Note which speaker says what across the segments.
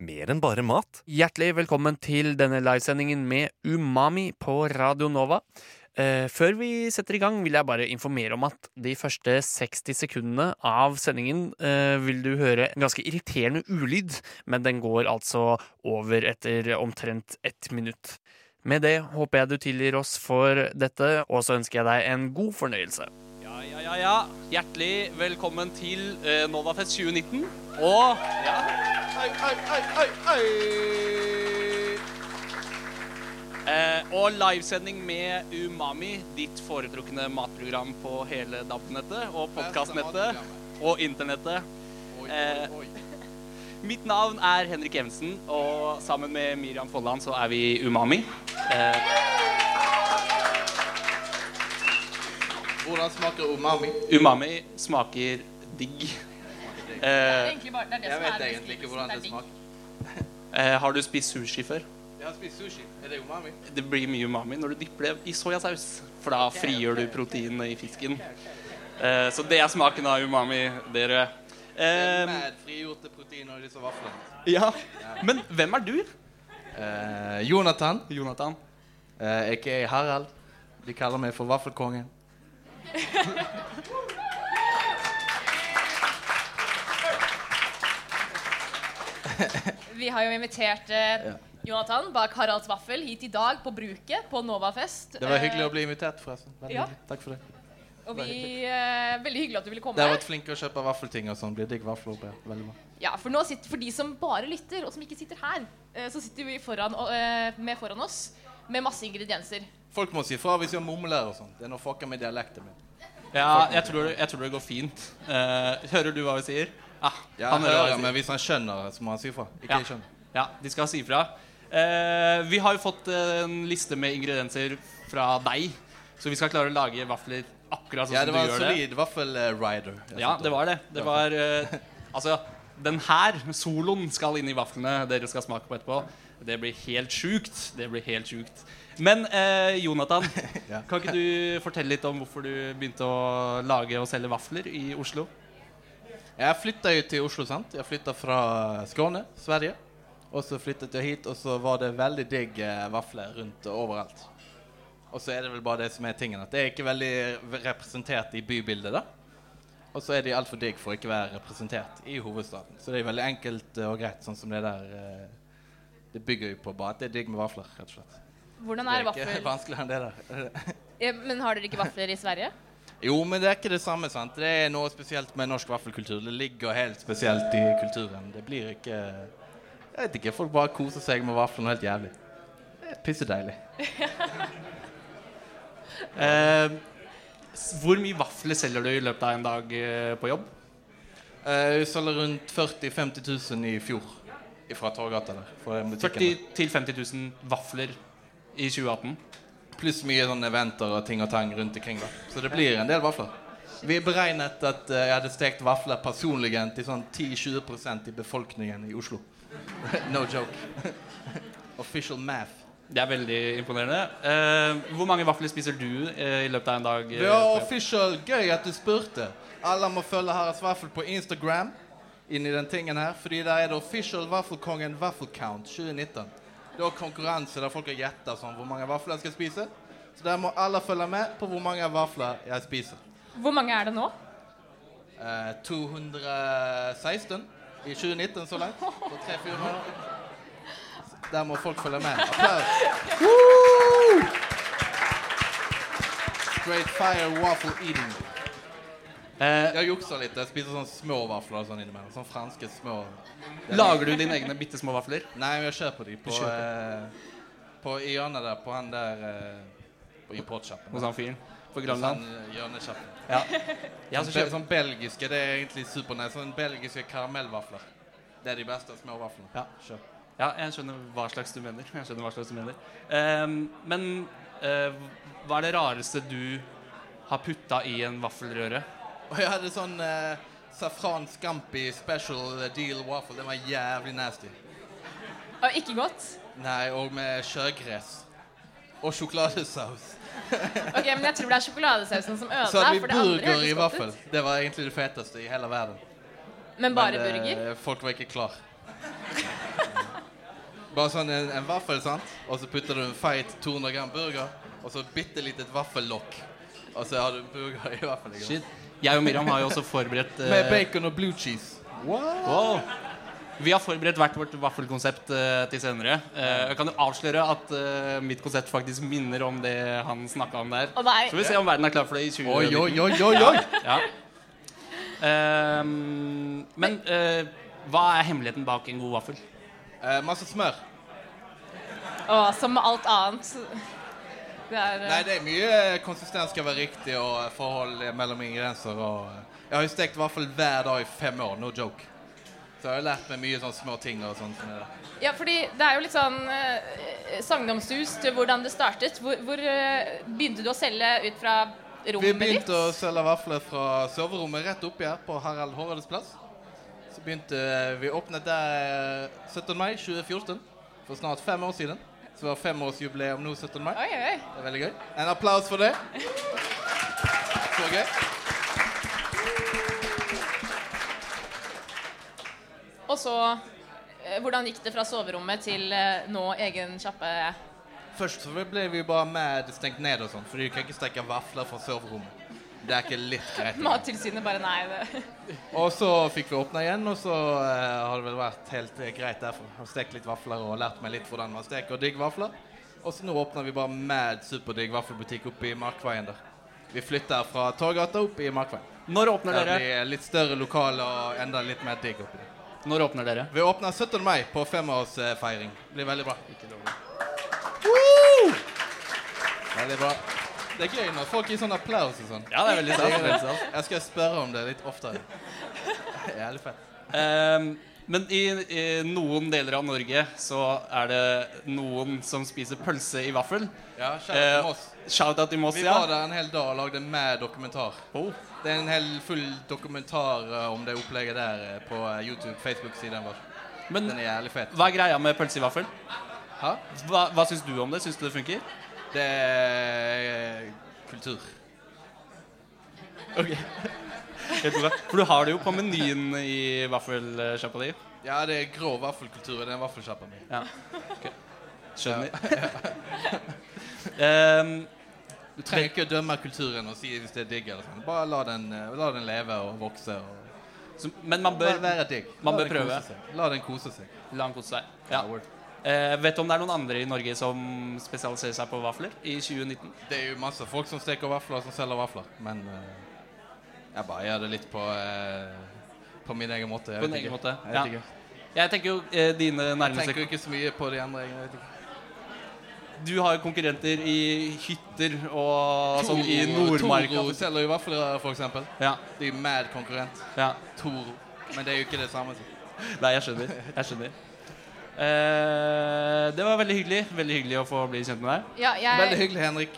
Speaker 1: Mer enn bare mat.
Speaker 2: Hjertelig velkommen til denne livesendingen med Umami på Radio Nova. Eh, før vi setter i gang, vil jeg bare informere om at de første 60 sekundene av sendingen eh, vil du høre en ganske irriterende ulyd, men den går altså over etter omtrent ett minutt. Med det håper jeg du tilgir oss for dette, og så ønsker jeg deg en god fornøyelse.
Speaker 3: Ja, ja, ja, ja. Hjertelig velkommen til eh, Novafest 2019. Og ja. Eh, og livesending med Umami, ditt foretrukne matprogram på hele DAB-nettet og podkastnettet og internettet. Eh, mitt navn er Henrik Evensen, og sammen med Miriam Folland så er vi Umami. Eh,
Speaker 4: Hvordan smaker umami?
Speaker 3: umami smaker digg. Eh,
Speaker 4: Jeg vet egentlig ikke hvordan det smaker.
Speaker 3: eh, har du spist sushi før?
Speaker 4: Jeg har spist sushi. Er det umami?
Speaker 3: Det blir mye umami når du dypper det i soyasaus. For da frigjør du proteinene i fisken. Eh, så det er smaken av umami, dere. Eh,
Speaker 4: Med frigjorte proteiner og sånn disse vaflene.
Speaker 3: ja. Men hvem er du,
Speaker 4: Eh, Jonathan,
Speaker 3: Jonathan?
Speaker 4: eh, aka Harald. De kaller meg for Vaffelkongen.
Speaker 5: Vi har jo invitert eh,
Speaker 4: Ja.
Speaker 5: Jonathan bak Haralds vaffel hit i dag på Bruket på Novafest.
Speaker 4: Det var hyggelig å bli invitert, forresten. Veldig
Speaker 5: ja.
Speaker 4: hyggelig. Takk for det.
Speaker 5: Og vi, eh, veldig hyggelig at du ville komme.
Speaker 4: Dere har vært flinke å kjøpe vaffelting og sånn. Blir digg vafler oppe her. Veldig bra.
Speaker 5: Ja, for, nå sitter, for de som bare lytter, og som ikke sitter her, eh, så sitter vi foran, og, eh, med foran oss med masse ingredienser.
Speaker 4: Folk må si fra hvis jeg mumler og sånn. Det er noe fucker med dialekten min.
Speaker 3: Ja, jeg tror, jeg tror det går fint. Eh, hører du hva vi sier? Ah,
Speaker 4: Ja,
Speaker 3: han hører hva vi sier.
Speaker 4: men hvis han skjønner, så må han si fra. Ikke
Speaker 3: Ja.
Speaker 4: jeg skjønner.
Speaker 3: Ja, de skal si ifra. Eh, vi har jo fått en liste med ingredienser fra deg, så vi skal klare å lage vafler akkurat sånn
Speaker 4: Ja, det
Speaker 3: som
Speaker 4: var
Speaker 3: du
Speaker 4: en
Speaker 3: gjør det.
Speaker 4: solid eh, vaffel-rider.
Speaker 3: Ja, det var det. Det var eh, Altså, den her soloen skal inn i vaflene dere skal smake på etterpå. Det blir helt sjukt. Det blir helt sjukt. Men eh, Jonathan,
Speaker 4: Ja.
Speaker 3: kan ikke du fortelle litt om hvorfor du begynte å lage og selge vafler i Oslo?
Speaker 4: Jeg flytta jo til Oslo, sant? Jeg flytta fra Skåne, Sverige. Og så flyttet jeg hit, og så var det veldig digg eh, vafler rundt og overalt. Og så er det vel bare det som er tingen, at det er ikke veldig v- representert i bybildet, da. Og så er de altfor digg for å ikke være representert i hovedstaden. Så det er veldig enkelt eh, og greit, sånn som det der eh, Det bygger jo på bare at det er digg med vafler, rett og slett.
Speaker 5: Hvordan
Speaker 4: Det
Speaker 5: er,
Speaker 4: er ikke
Speaker 5: vaffel?
Speaker 4: vanskeligere enn det der.
Speaker 5: Eh, Men har dere ikke vafler i Sverige?
Speaker 4: Jo, men det er ikke det samme. sant? Det er noe spesielt med norsk vaffelkultur. Det ligger helt spesielt i kulturen. Det blir ikke Jeg vet ikke. Folk bare koser seg med vaflene helt jævlig. Det er pissedeilig.
Speaker 3: Eh, s- hvor mye vafler selger du i løpet av en dag eh, på jobb?
Speaker 4: Uh, vi selger rundt 40 000-50 000 i fjor fra Torgata der. For den butikken
Speaker 3: 40 000-50 000 vafler i 2018.
Speaker 4: der. Pluss mye sånne eventer og ting og tang rundt omkring. da. Så det blir en del vafler. Vi beregnet at eh, jeg hadde stekt vafler personligen til sånn 10-20 i befolkningen i Oslo. no joke. Official math.
Speaker 3: Det er veldig imponerende. Eh, hvor mange vafler spiser du eh, i løpet av en dag? eh,
Speaker 4: Det
Speaker 3: på
Speaker 4: var
Speaker 3: jobb?
Speaker 4: official gøy at du spurte. Alle må følge Haralds Vaffel på Instagram. Inn i den tingen her, fordi der er det official Vaffelkongen Vaffelcount 2019. Det er konkurranse der folk har gjetta sånn hvor mange vafler jeg skal spise. Så der må alle følge med på hvor mange vafler jeg spiser.
Speaker 5: Hvor mange er det nå?
Speaker 4: Eh, 216 i 2019 så langt. På tre-fire måneder. Der må folk følge med. Applaus. Straight fire waffle eating.
Speaker 3: Eh,
Speaker 4: Jeg jukser litt. Jeg spiser sånn små vafler og sånn innimellom. Sånn franske små
Speaker 3: lager du dine egne bitte små vafler?
Speaker 4: Nei, men jeg kjøper de på, eh, på i hjørnet der, på han der eh, På importsjappen.
Speaker 3: Hos han fyren på
Speaker 4: Sånn
Speaker 3: Grønland?
Speaker 4: eh, hjørnesjappen.
Speaker 3: Ja. Jeg også
Speaker 4: Be
Speaker 3: kjøper sånn.
Speaker 4: sånn belgiske, det er egentlig supernice. Sånn belgiske karamellvafler. Det er de beste små vaflene.
Speaker 3: Ja.
Speaker 4: Kjøp.
Speaker 3: Ja, jeg skjønner hva slags du mener. Jeg skjønner hva slags du mener. Ehm, men eh, hva er det rareste du har putta i en vaffelrøre?
Speaker 4: Og jeg hadde sånn eh, safran scampi special deal waffle. Den var jævlig nasty.
Speaker 5: Ja, ikke godt.
Speaker 4: Nei, og med sjøgress. Og sjokoladesaus.
Speaker 5: Ok, Men jeg tror det er sjokoladesausen som
Speaker 4: Så
Speaker 5: ødela.
Speaker 4: hadde
Speaker 5: for
Speaker 4: vi
Speaker 5: det andre
Speaker 4: burger
Speaker 5: hørtes
Speaker 4: i
Speaker 5: godt ut.
Speaker 4: vaffel. Det var egentlig det feteste i hele verden.
Speaker 5: Men bare
Speaker 4: Men, eh,
Speaker 5: burger?
Speaker 4: Folk var ikke klar. Bare sånn en, en vaffel, sant? Og så putter du en feit 200 gram burger, og så bitte litt et vaffellokk. Og så har du burger i vaffel. ikke sant?
Speaker 3: Shit. Jeg og Miriam har jo også forberedt eh,
Speaker 4: Med bacon og blue cheese.
Speaker 3: Wow. Vi har forberedt hvert vårt vaffelkonsept eh, til senere. Eh, jeg kan jo avsløre at eh, mitt konsept faktisk minner om det han snakka om der.
Speaker 5: Å nei.
Speaker 3: Så vi se om verden er klar for det i 2019.
Speaker 4: Oi, oi, oi, oi, oi!
Speaker 3: Ja. Ehm, men eh, hva er hemmeligheten bak en god vaffel?
Speaker 4: Eh, masse smør.
Speaker 5: Å, som med alt annet. Det er eh,
Speaker 4: Nei, det er mye eh, konsistens skal være riktig, og eh, forhold mellom ingredienser og eh, Jeg har jo stekt vaffel hver dag i fem år, no joke. Så jeg har jo lært meg mye sånne små ting og sånt. som det der.
Speaker 5: Ja, fordi det er jo litt sånn eh, sagnomsust hvordan det startet. Hvor, hvor eh, begynte du å selge ut fra
Speaker 4: Vi
Speaker 5: rommet ditt?
Speaker 4: begynte å selge vafler fra soverommet rett oppi her på Harald Hårdes plass. Så begynte eh, vi åpnet der 17. mai 2014, for snart fem år siden. Så vi har femårsjubileum nå 17. mai.
Speaker 5: Oi, oi, oi.
Speaker 4: Det er veldig gøy. En applaus for det. Så gøy.
Speaker 5: Og så eh, hvordan gikk det fra soverommet til eh, nå egen kjappe
Speaker 4: Først så ble vi bare med stengt ned og sånn, for du kan ikke steke vafler fra soverommet. Det er ikke litt greit.
Speaker 5: Mattilsynet bare nei. Det.
Speaker 4: Og så fikk vi åpna igjen, og så eh, har det vel vært helt eh, greit derfor. Har stekt litt vafler og lært meg litt hvordan man steker digg vafler. Og så nå åpner vi bare mad superdigg vaffelbutikk oppe i Markveien der. Vi flytter fra Torgata opp i Markveien.
Speaker 3: Når åpner
Speaker 4: Der
Speaker 3: dere?
Speaker 4: blir litt større lokale og enda litt mer digg oppi der.
Speaker 3: Når åpner dere?
Speaker 4: Vi åpner 17. mai på femårsfeiring. Blir veldig bra. Veldig bra. Det er gøy når folk gir sånn applaus og sånn.
Speaker 3: Ja, det er veldig sant. Veldig sant.
Speaker 4: Jeg skal spørre om det litt oftere. Jævlig fett.
Speaker 3: Ehm, men i, i noen deler av Norge så er det noen som spiser pølse i vaffel.
Speaker 4: Ja, kjære
Speaker 3: Eh,
Speaker 4: til Moss.
Speaker 3: Shout-out til Moss,
Speaker 4: Vi
Speaker 3: ja.
Speaker 4: var der en hel dag og lagde med dokumentar.
Speaker 3: Oh.
Speaker 4: Det er en hel full dokumentar eh, om det opplegget der eh, på eh, YouTube, Facebook-siden vår.
Speaker 3: Men
Speaker 4: Den er jævlig fet.
Speaker 3: hva er greia med pølse i vaffel?
Speaker 4: Hæ?
Speaker 3: Hva, hva syns du om det? Syns du det funker?
Speaker 4: Det er kultur.
Speaker 3: Ok. Helt bra. For du har det jo på menyen i vaffelsjappa di.
Speaker 4: Ja, det er grå vaffelkultur i den vaffelsjappa mi.
Speaker 3: Skjønner. Ehm,
Speaker 4: Du trenger ikke å dømme kulturen og si hvis det er digg eller sånn. Bare la den, eh, la den leve og vokse. Og
Speaker 3: så, men man
Speaker 4: bare
Speaker 3: bør
Speaker 4: være digg.
Speaker 3: man
Speaker 4: La
Speaker 3: bør
Speaker 4: den kose
Speaker 3: prøve.
Speaker 4: seg. La den kose seg.
Speaker 3: La han kose seg. Ja. Eh, vet du om det er noen andre i Norge som spesialiserer seg på vafler i 2019?
Speaker 4: Det er jo masse folk som steker vafler, som selger vafler. Men eh, jeg bare gjør det litt på eh, På min egen måte. Jeg
Speaker 3: På
Speaker 4: vet
Speaker 3: en egen
Speaker 4: ikke.
Speaker 3: måte.
Speaker 4: Jeg vet
Speaker 3: Ja.
Speaker 4: ikke.
Speaker 3: Jeg tenker jo eh, dine
Speaker 4: Jeg tenker
Speaker 3: nærmeste
Speaker 4: jo ikke så mye på de andre. Jeg vet ikke.
Speaker 3: Du har jo konkurrenter i hytter og sånn i Nordmarka.
Speaker 4: Toro selger jo vafler, Altså, for eksempel.
Speaker 3: Ja,
Speaker 4: De er jo mad konkurrent.
Speaker 3: ja.
Speaker 4: Toro. Men det er jo ikke det samme. altså.
Speaker 3: Nei, jeg skjønner. Jeg skjønner. Eh, det var veldig hyggelig. Veldig hyggelig å få bli kjent med deg.
Speaker 5: Ja,
Speaker 4: Veldig
Speaker 5: jeg,
Speaker 4: hyggelig, Henrik.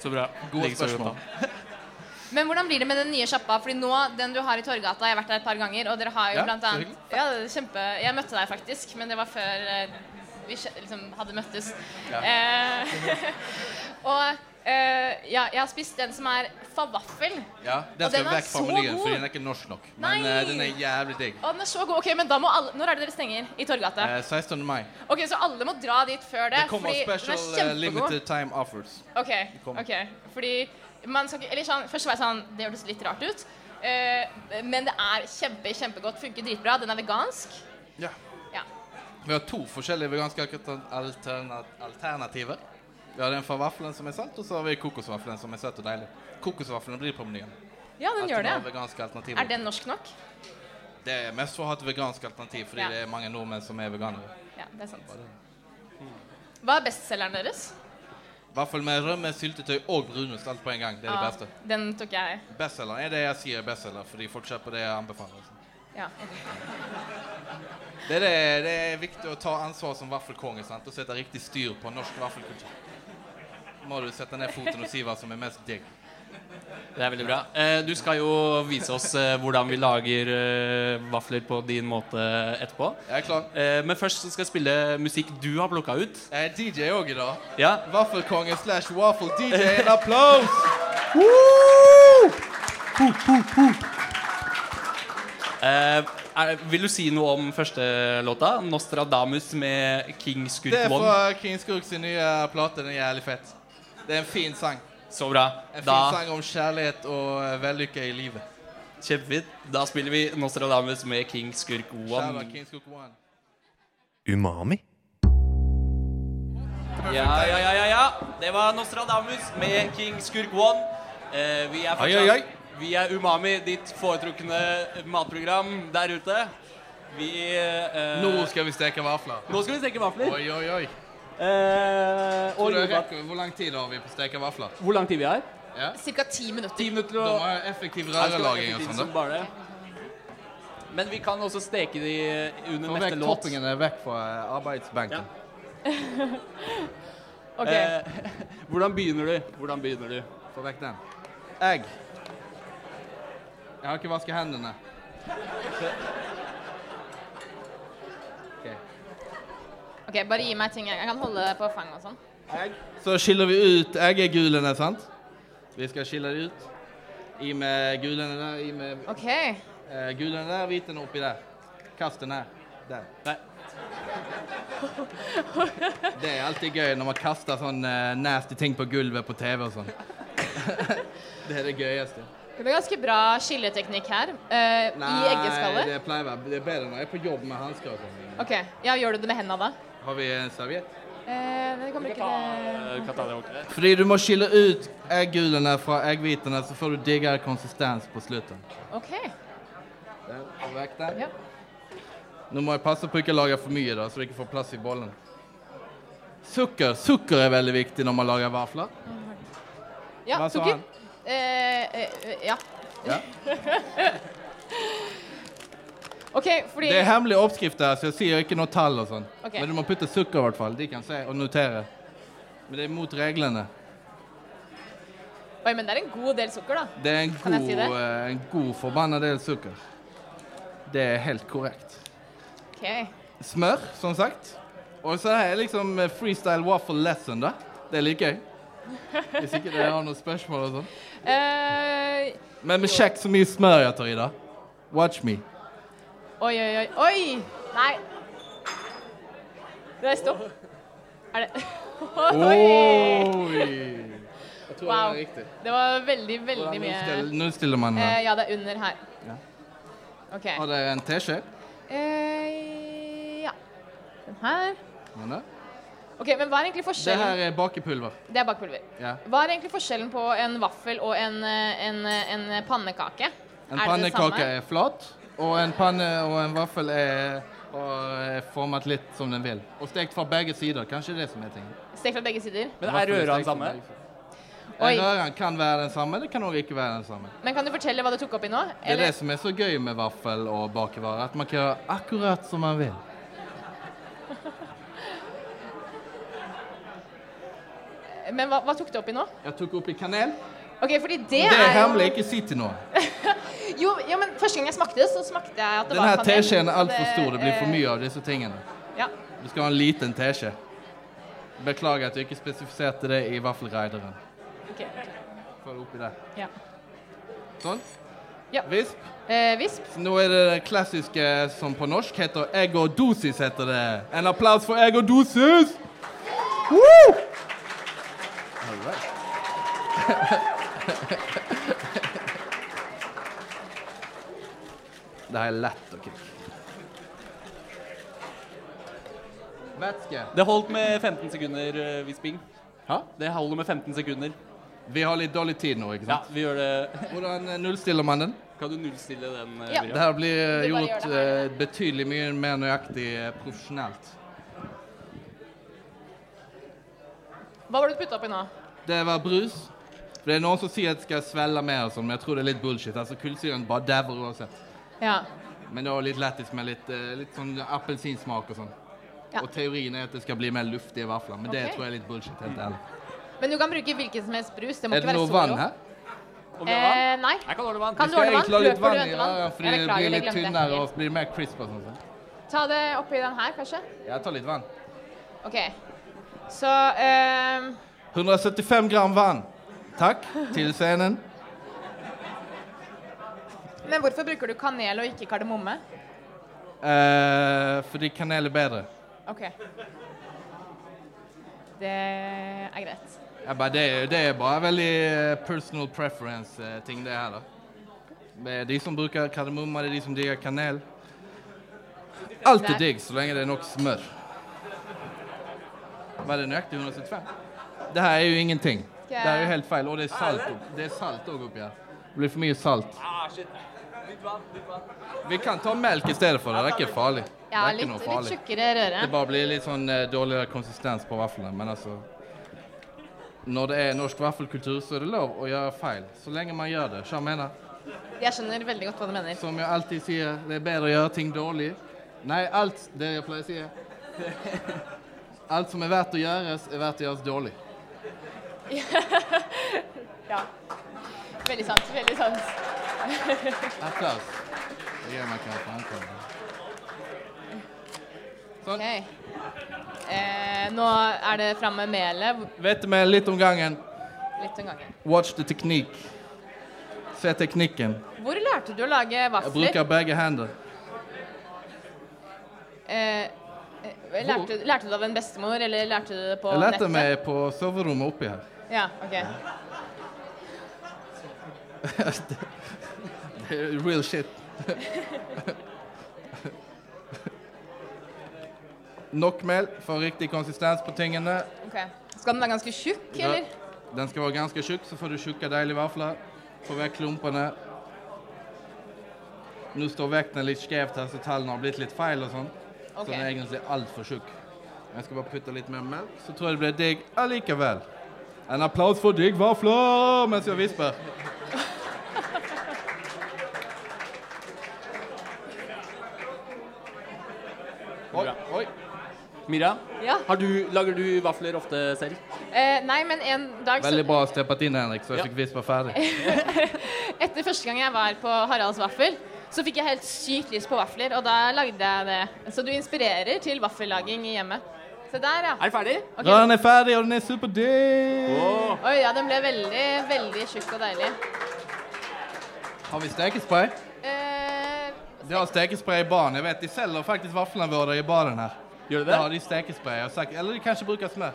Speaker 3: Så bra.
Speaker 4: Gode
Speaker 3: Like så godt,
Speaker 4: spørsmål.
Speaker 3: da.
Speaker 5: men hvordan blir det med den nye sjappa? Fordi nå, den du har i Torgata, jeg har vært der et par ganger, og dere har jo
Speaker 4: Ja,
Speaker 5: blant
Speaker 4: så
Speaker 5: annet ja, det er kjempe, Jeg møtte deg faktisk, men det var før eh, vi kje- liksom hadde møttes. Eh, og eh, ja, jeg har spist den som er favaffel.
Speaker 4: Ja, den
Speaker 5: Og
Speaker 4: skal
Speaker 5: den er
Speaker 4: vekk fra
Speaker 5: så
Speaker 4: menyen,
Speaker 5: god.
Speaker 4: for den er ikke norsk nok. Men
Speaker 5: Nei.
Speaker 4: eh, den er jævlig digg.
Speaker 5: Å, den er så god. Ok, men da må alle Når er det dere stenger i Torgata?
Speaker 4: Eh, 16. mai.
Speaker 5: Ok, Så alle må dra dit før det?
Speaker 4: Det kommer
Speaker 5: fordi
Speaker 4: special
Speaker 5: den er
Speaker 4: eh,
Speaker 5: kjempegod.
Speaker 4: limited time offers.
Speaker 5: Ok,
Speaker 4: kommer.
Speaker 5: ok. Fordi man skal ikke Eller sånn, først var jeg sånn Det hørtes litt rart ut. Eh, men det er kjempe, kjempegodt. Funker dritbra. Den er vegansk.
Speaker 4: Ja.
Speaker 5: Ja.
Speaker 4: Vi har to forskjellige veganske alter- alterna- alternativer. Vi har den fra vaffelen som er salt, og så har vi kokosvaffelen som er søt og deilig. Kokosvaffelen blir på menyen.
Speaker 5: Ja, den gjør det.
Speaker 4: At den har veganske alternativer.
Speaker 5: Er den norsk nok?
Speaker 4: Det er mest for å ha et vegansk alternativ, fordi
Speaker 5: Ja.
Speaker 4: det er mange nordmenn som er veganere.
Speaker 5: Ja, det er sant. Hva er bestselgeren deres?
Speaker 4: Vaffel med rømme, syltetøy og brunost, alt på en gang. Det er det
Speaker 5: Ja,
Speaker 4: beste.
Speaker 5: Den tok jeg.
Speaker 4: Bestselgeren er det jeg sier er bestselger, fordi folk kjøper det jeg anbefaler.
Speaker 5: Ja.
Speaker 4: liksom. Det er, det, det er viktig å ta ansvar som vaffelkonge sant? og sette riktig styr på norsk vaffelkultur. Må du sette ned foten og si hva som er mest digg.
Speaker 3: Det er veldig bra. Eh, Du skal jo vise oss eh, hvordan vi lager eh, vafler på din måte etterpå.
Speaker 4: Jeg er klar.
Speaker 3: Eh, Men først så skal jeg spille musikk du har plukka ut.
Speaker 4: Jeg er DJ òg i dag.
Speaker 3: Ja.
Speaker 4: Vaffelkonge slash waffle DJ. En applaus!
Speaker 3: Eh, Er, vil du si noe om første låta? 'Nostradamus' med King Skurk
Speaker 4: Det er
Speaker 3: Wong.
Speaker 4: fra King Skurk sin nye plate. Den er jævlig fett. Det er en fin sang.
Speaker 3: Så bra.
Speaker 4: En fin
Speaker 3: Da,
Speaker 4: sang om kjærlighet og eh, vellykke i livet.
Speaker 3: kjempefint. Da spiller vi 'Nostradamus' med King Skurk
Speaker 4: Shout
Speaker 3: Wong.
Speaker 4: out King Skurk One.
Speaker 1: Umami.
Speaker 3: Ja, ja, ja, ja, ja. Det var Nostradamus med King Skurk One. Eh, vi, er
Speaker 4: Ai, ai, ai.
Speaker 3: fortsatt- vi er Umami, ditt foretrukne matprogram der ute. Vi eh,
Speaker 4: Nå skal vi steke vafler.
Speaker 3: nå skal vi steke vafler.
Speaker 4: Oi, oi, oi.
Speaker 3: Eh, og
Speaker 4: Tror du jeg
Speaker 3: jordbær.
Speaker 4: rekker- Hvor lang tid har vi på å steke vafler?
Speaker 3: Hvor lang tid vi har?
Speaker 5: Cirka ti minutter.
Speaker 3: Ti minutter
Speaker 4: Da
Speaker 3: og
Speaker 4: må jeg ha effektiv
Speaker 3: Nei, det skal være
Speaker 4: rørelaging og
Speaker 3: effektivt
Speaker 4: sånn.
Speaker 3: som
Speaker 4: da.
Speaker 3: bare det. Men vi kan også steke de under
Speaker 4: Få
Speaker 3: neste
Speaker 4: vekk
Speaker 3: låt.
Speaker 4: toppingene vekk fra eh, arbeidsbenken.
Speaker 5: Ok.
Speaker 3: Eh, hvordan begynner du? Hvordan begynner du?
Speaker 4: Få vekk den. Egg. Jeg har ikke vasket hendene.
Speaker 5: ok, Bare gi meg ting. Jeg kan holde på fanget og sånn.
Speaker 4: Så skiller vi ut eggegulene, sant? Vi skal skille det ut. I med gulene der, i med
Speaker 5: Ok.
Speaker 4: eh, gulene der, hvitene oppi der. Kast den her. Der.
Speaker 3: Nei.
Speaker 4: Det er alltid gøy når man kaster sånn eh, nasty ting på gulvet på TV og sånn. det er det gøyeste.
Speaker 5: Det var ganske bra skilleteknikk her. eh, I eggeskallet.
Speaker 4: det pleier å være det er bedre når jeg er på jobb med hansker og sånn.
Speaker 5: Ok, ja, Gjør du det med hendene da?
Speaker 4: Har vi en serviett?
Speaker 5: Eh, det kommer ikke til
Speaker 3: Eh, kan ta det over.
Speaker 4: Fordi du må skille ut eggulene fra egghvitene, så får du diggere konsistens på slutten.
Speaker 5: OK.
Speaker 4: Der, og vekk der.
Speaker 5: Ja.
Speaker 4: Nå må jeg passe på ikke å lage for mye, da, så du ikke får plass i bollen. Sukker Sukker er veldig viktig når man lager vafler.
Speaker 5: Ja,
Speaker 4: Hva sa
Speaker 5: sukker.
Speaker 4: han?
Speaker 5: Eh, eh, ja.
Speaker 4: Ja.
Speaker 5: OK, fordi
Speaker 4: Det er hemmelige oppskrifter, så jeg sier ikke noe tall og sånn.
Speaker 5: Ok.
Speaker 4: Men du må putte sukker, i hvert fall. De kan se og notere. Men det er mot reglene.
Speaker 5: Oi, men det er en god del sukker, da.
Speaker 4: Det er en
Speaker 5: Kan jeg
Speaker 4: god,
Speaker 5: si det?
Speaker 4: eh, en god forbanna del sukker. Det er helt korrekt.
Speaker 5: Ok.
Speaker 4: smør, som sagt. Og så er jeg liksom eh, freestyle waffle lesson, da. Det er litt gøy. Hvis ikke dere har noen spørsmål og sånn.
Speaker 5: Eh,
Speaker 4: Men men sjekk så mye smør jeg tar i, da. Watch me.
Speaker 5: oi, oi, oi. Oi! Nei. Nei, stopp. Er det Oi!
Speaker 4: Oh! Jeg tror
Speaker 5: Wow.
Speaker 4: det er riktig.
Speaker 5: Det var veldig, veldig
Speaker 4: Hvordan
Speaker 5: mye
Speaker 4: stiller- Nå stiller man
Speaker 5: eh,
Speaker 4: her.
Speaker 5: Ja, det er under her.
Speaker 4: Ja.
Speaker 5: OK.
Speaker 4: Har dere en teskje?
Speaker 5: Eh, ja. Den her.
Speaker 4: Mener jeg?
Speaker 5: OK, men hva er egentlig
Speaker 4: Det
Speaker 5: forskjellen
Speaker 4: her er bakepulver.
Speaker 5: Det er bakpulver.
Speaker 4: Ja.
Speaker 5: Hva er egentlig forskjellen på en vaffel og en, eh, en, eh, en pannekake?
Speaker 4: En
Speaker 5: Er det det samme?
Speaker 4: pannekake er flat, og en panne og en vaffel er, og er formet litt som den vil. Og stekt fra begge sider. Kanskje det som er tingen.
Speaker 5: Stekt fra begge sider.
Speaker 3: Men er røra den samme?
Speaker 5: Oi.
Speaker 4: Oi. Røren kan være den samme, det kan òg ikke være den samme.
Speaker 5: Men kan du fortelle hva du tok oppi nå?
Speaker 4: Det er det som er så gøy med vaffel og bakevarer, at man kan gjøre akkurat som man vil.
Speaker 5: Men hva, hva tok du oppi nå?
Speaker 4: Jeg tok oppi kanel.
Speaker 5: Ok, fordi det,
Speaker 4: Det er
Speaker 5: jo-
Speaker 4: hemmelig, ikke si til noen.
Speaker 5: Jo, jo, men første gang jeg smakte det, så smakte jeg at det
Speaker 4: Denne
Speaker 5: var kanel.
Speaker 4: teskjeen er
Speaker 5: så
Speaker 4: altfor stor, det blir
Speaker 5: eh,
Speaker 4: for mye av disse tingene.
Speaker 5: Ja.
Speaker 4: Du skal ha en liten teskje. Beklager at du ikke spesifiserte det i vaffelrideren.
Speaker 5: ok.
Speaker 4: Få det oppi der.
Speaker 5: Ja.
Speaker 4: Sånn.
Speaker 5: Ja.
Speaker 4: Visp.
Speaker 5: Eh, visp.
Speaker 4: Nå er det det klassiske som på norsk heter egg og dosis, heter det. En applaus for egg og dosis! Woo! All right. det her er lett å knekke. Vætske.
Speaker 3: Det holdt med 15 sekunder eh, visping.
Speaker 4: Hæ?
Speaker 3: Det holder med 15 sekunder.
Speaker 4: Vi har litt dårlig tid nå, ikke
Speaker 3: Ja,
Speaker 4: sant?
Speaker 3: vi gjør det.
Speaker 4: Hvordan eh, nullstiller man den?
Speaker 3: Kan du nullstille den? eh,
Speaker 5: Ja.
Speaker 4: Det
Speaker 3: Miriam?
Speaker 4: her blir eh,
Speaker 5: Du bare gjør
Speaker 4: gjort
Speaker 5: det her.
Speaker 4: eh, betydelig mye mer nøyaktig eh, profesjonelt.
Speaker 5: Hva var det du putta oppi nå?
Speaker 4: Det var brus. For Det er noen som sier at jeg skal svelle mer, og sånn, men jeg tror det er litt bullshit. Altså, Kullsyren bare dauer uansett.
Speaker 5: Ja.
Speaker 4: Men det var litt lættis med litt, eh, litt sånn appelsinsmak og sånn.
Speaker 5: Ja.
Speaker 4: Og teorien er at det skal bli mer luftige vafler, men det
Speaker 5: Ok.
Speaker 4: tror jeg er litt bullshit. helt ærlig.
Speaker 5: Men du kan bruke hvilken som helst brus. Det må
Speaker 4: Er
Speaker 5: ikke
Speaker 4: det
Speaker 5: være
Speaker 4: noe
Speaker 5: solo.
Speaker 4: vann her?
Speaker 3: Om jeg har vann?
Speaker 5: Eh, nei.
Speaker 3: Jeg kan ordne vann.
Speaker 5: Kan du
Speaker 4: Skal jeg
Speaker 5: ordne vann?
Speaker 4: egentlig ha litt
Speaker 5: Løper
Speaker 4: vann
Speaker 5: du
Speaker 4: i
Speaker 5: etter
Speaker 4: øra,
Speaker 5: vann?
Speaker 4: fordi
Speaker 5: Jeg
Speaker 4: det blir
Speaker 5: beklager, jeg
Speaker 4: litt
Speaker 5: glemte.
Speaker 4: tynnere og blir mer crisp og sånn? sånn.
Speaker 5: Ta det oppi den her, kanskje.
Speaker 4: Jeg tar litt vann.
Speaker 5: OK. Så eh,
Speaker 4: 175 gram vann. Takk. Til scenen.
Speaker 5: Men hvorfor bruker du kanel og ikke kardemomme?
Speaker 4: Eh, fordi kanel er bedre.
Speaker 5: OK. Det er greit.
Speaker 4: Jeg bare, det, er- det er bare veldig eh, personal preference-ting, det her, da. Det er de som bruker kardemomme, det er de som digger kanel. Alt er
Speaker 5: Nei.
Speaker 4: digg så lenge det er nok smør. Var det nøyaktig 175? Det her er jo ingenting. Det her er jo helt feil. Og det er salt opp- Det er salt òg oppi her. Det blir for mye salt.
Speaker 3: Ah, shit. Litt vann, litt vann.
Speaker 4: Vi kan ta melk i stedet for det. Det er ikke farlig. Det
Speaker 5: Ja,
Speaker 4: er
Speaker 5: litt,
Speaker 4: ikke noe
Speaker 5: litt
Speaker 4: farlig.
Speaker 5: tjukkere røre.
Speaker 4: Det bare blir litt sånn eh, dårligere konsistens på vaflene, men altså Når det er norsk vaffelkultur, så er det lov å gjøre feil. Så lenge man gjør det. Hva jeg mener
Speaker 5: Jeg skjønner veldig godt hva du mener.
Speaker 4: Som jeg alltid sier, det er bedre å gjøre ting dårlig. Nei, alt det jeg pleier å si. Alt som er verdt å gjøres, er verdt å gjøres dårlig.
Speaker 5: Ja. Veldig sant. Veldig sant.
Speaker 4: Applaus. Det gir meg kanskje ankommen.
Speaker 5: OK. Eh, nå er det fram med melet.
Speaker 4: Vet du meg litt om gangen?
Speaker 5: Litt om gangen.
Speaker 4: Watch the teknikk. Se teknikken.
Speaker 5: Hvor lærte du å lage
Speaker 4: Jeg
Speaker 5: vafler?
Speaker 4: bruker begge hender.
Speaker 5: Eh, eh, lærte, lærte du det av en bestemor, eller lærte du det på
Speaker 4: Jeg lærte
Speaker 5: nettet?
Speaker 4: meg på soverommet oppi her.
Speaker 5: Ja, ok.
Speaker 4: Eh, Real shit. Nok mel for riktig konsistens på tingene.
Speaker 5: ok. Skal den være ganske tjukk, eller?
Speaker 4: Den skal være ganske tjukk, så får du tjukke, deilige vafler. Få vekk klumpene. Nå står vekten litt skjevt her, så tallene har blitt litt feil og sånn. Så
Speaker 5: Ok.
Speaker 4: den er egentlig altfor tjukk. Jeg skal bare putte litt mer melk, så tror jeg det blir digg allikevel. En applaus for digg vafler mens jeg visper. Oi, oi.
Speaker 3: Mira,
Speaker 5: Ja.
Speaker 3: har du, lager du vafler ofte selv?
Speaker 5: Eh, nei, men en dag så,
Speaker 4: Veldig bra steppet inn, Henrik, så jeg fikk vispa ferdig.
Speaker 5: Etter første gang jeg var på Haralds Vaffel, så fikk jeg helt sykt lyst på vafler, og da lagde jeg det. Så du inspirerer til vaffellaging i hjemmet. Se der, ja.
Speaker 3: Er du ferdig?
Speaker 5: Ok.
Speaker 4: Ja, den er ferdig, og den er superdigg!
Speaker 5: Oi, ja, den ble veldig, veldig tjukk og deilig.
Speaker 4: Har vi stekespray?
Speaker 5: Eh,
Speaker 4: De har stekespray i baren. Jeg vet, De selger faktisk vaflene våre i baren her.
Speaker 3: Gjør du
Speaker 4: Da
Speaker 3: det?
Speaker 4: har de stekespray. og sak- Eller de kanskje bruker smør.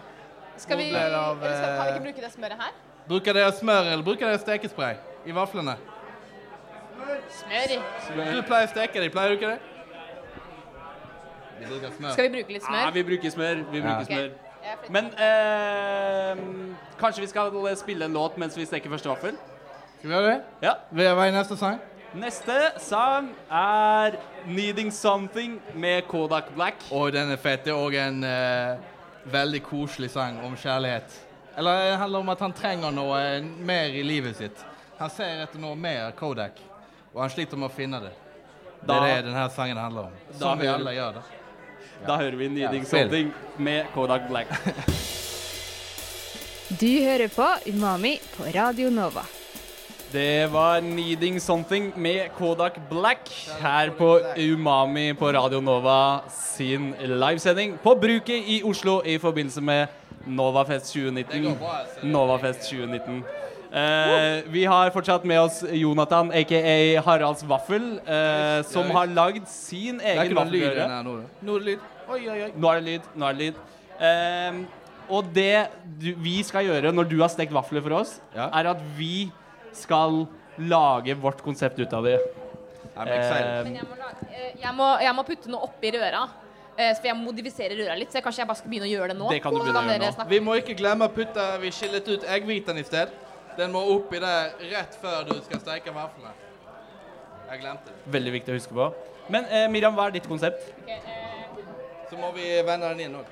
Speaker 5: skal vi,
Speaker 4: Bobler av,
Speaker 5: eller skal, kan vi
Speaker 4: eh,
Speaker 5: ikke bruke det smøret her?
Speaker 4: Bruker dere smør eller bruker dere stekespray i vaflene?
Speaker 5: Smør.
Speaker 4: Du pleier å steke de, pleier du ikke det? Vi bruker smør.
Speaker 5: Skal vi bruke litt
Speaker 3: Ja,
Speaker 5: smør?
Speaker 3: vi bruker smør. Vi bruker
Speaker 4: Ja.
Speaker 3: smør.
Speaker 5: Jeg flytter-
Speaker 3: Men eh, kanskje vi skal spille en låt mens vi steker første vaffel?
Speaker 4: Skal vi gjøre det?
Speaker 3: Ja.
Speaker 4: Vi er vei neste sang.
Speaker 3: Neste sang er 'Needing Something' med Kodak Black.
Speaker 4: Og den er fet. Det er òg en eh, veldig koselig sang om kjærlighet. Eller det handler om at han trenger noe eh, mer i livet sitt. Han ser etter noe mer Kodak, og han sliter med å finne det. Det
Speaker 3: Da-
Speaker 4: er det denne sangen handler om.
Speaker 3: Da
Speaker 4: Som vi
Speaker 3: hører-
Speaker 4: alle gjør, da.
Speaker 3: Da hører vi 'Needing
Speaker 4: Ja, spill.
Speaker 3: Something' med Kodak Black.
Speaker 6: Du hører på Umami på Radio Nova.
Speaker 3: Det var 'Needing Something' med Kodak Black her på Umami på Radio Nova sin livesending på Bruket i Oslo i forbindelse med Novafest 2019.
Speaker 4: altså.
Speaker 3: Novafest 2019. Eh, vi har fortsatt med oss Jonathan, aka Haralds Vaffel, eh, som har lagd sin
Speaker 4: Det er
Speaker 3: egen
Speaker 4: ikke noe lyd i
Speaker 3: vaffelrøre.
Speaker 4: den her nå. da. Noe lyd. Oi, oi, oi.
Speaker 3: Nå er det lyd. nå er det lyd. Ehm, og det du, vi skal gjøre når du har stekt vafler for oss,
Speaker 4: Ja.
Speaker 3: er at vi skal lage vårt konsept ut av det.
Speaker 4: I'm excited.
Speaker 3: Ehm,
Speaker 5: Men jeg må, lage, eh, jeg må, jeg må putte noe oppi røra. eh, For jeg må modifisere røra litt, så kanskje jeg bare skal begynne å gjøre det nå.
Speaker 3: Det kan du
Speaker 5: Så
Speaker 3: begynne å gjøre
Speaker 5: dere
Speaker 3: nå.
Speaker 5: snakke-
Speaker 4: Eh, Vi må ikke glemme å putte Vi skillet ut eggviten i sted. Den må oppi der rett før du skal steke vaflene. Jeg glemte det.
Speaker 3: veldig viktig å huske på. Men eh, Miriam, hva er ditt konsept?
Speaker 4: Så må vi vende den inn òg.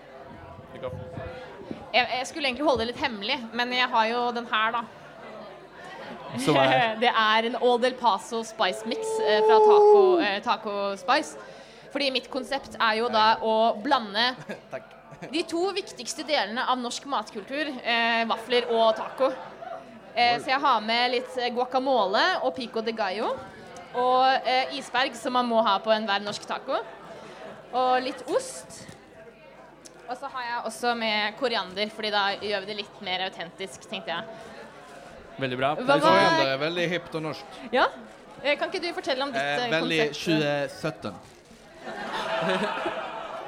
Speaker 5: Jeg, jeg skulle egentlig holde det litt hemmelig, men jeg har jo den her, da.
Speaker 4: Som er
Speaker 5: det er en All Del Paso spice mix eh, fra taco, eh, taco Spice. Fordi mitt konsept er jo da å blande
Speaker 4: Takk.
Speaker 5: de to viktigste delene av norsk matkultur, eh, vafler og taco. Eh, så jeg har med litt eh, guacamole og pico de gallo. Og eh, isberg, som man må ha på enhver norsk taco. Og litt ost. Og så har jeg også med koriander, fordi da gjør vi det litt mer autentisk, tenkte jeg.
Speaker 7: Veldig bra.
Speaker 5: Hva
Speaker 4: Oi,
Speaker 5: var
Speaker 4: det er veldig hipt og norsk.
Speaker 5: Ja? Eh, Kan ikke du fortelle om ditt
Speaker 4: Eh,
Speaker 5: eh,
Speaker 4: veldig 2017.
Speaker 5: konsept?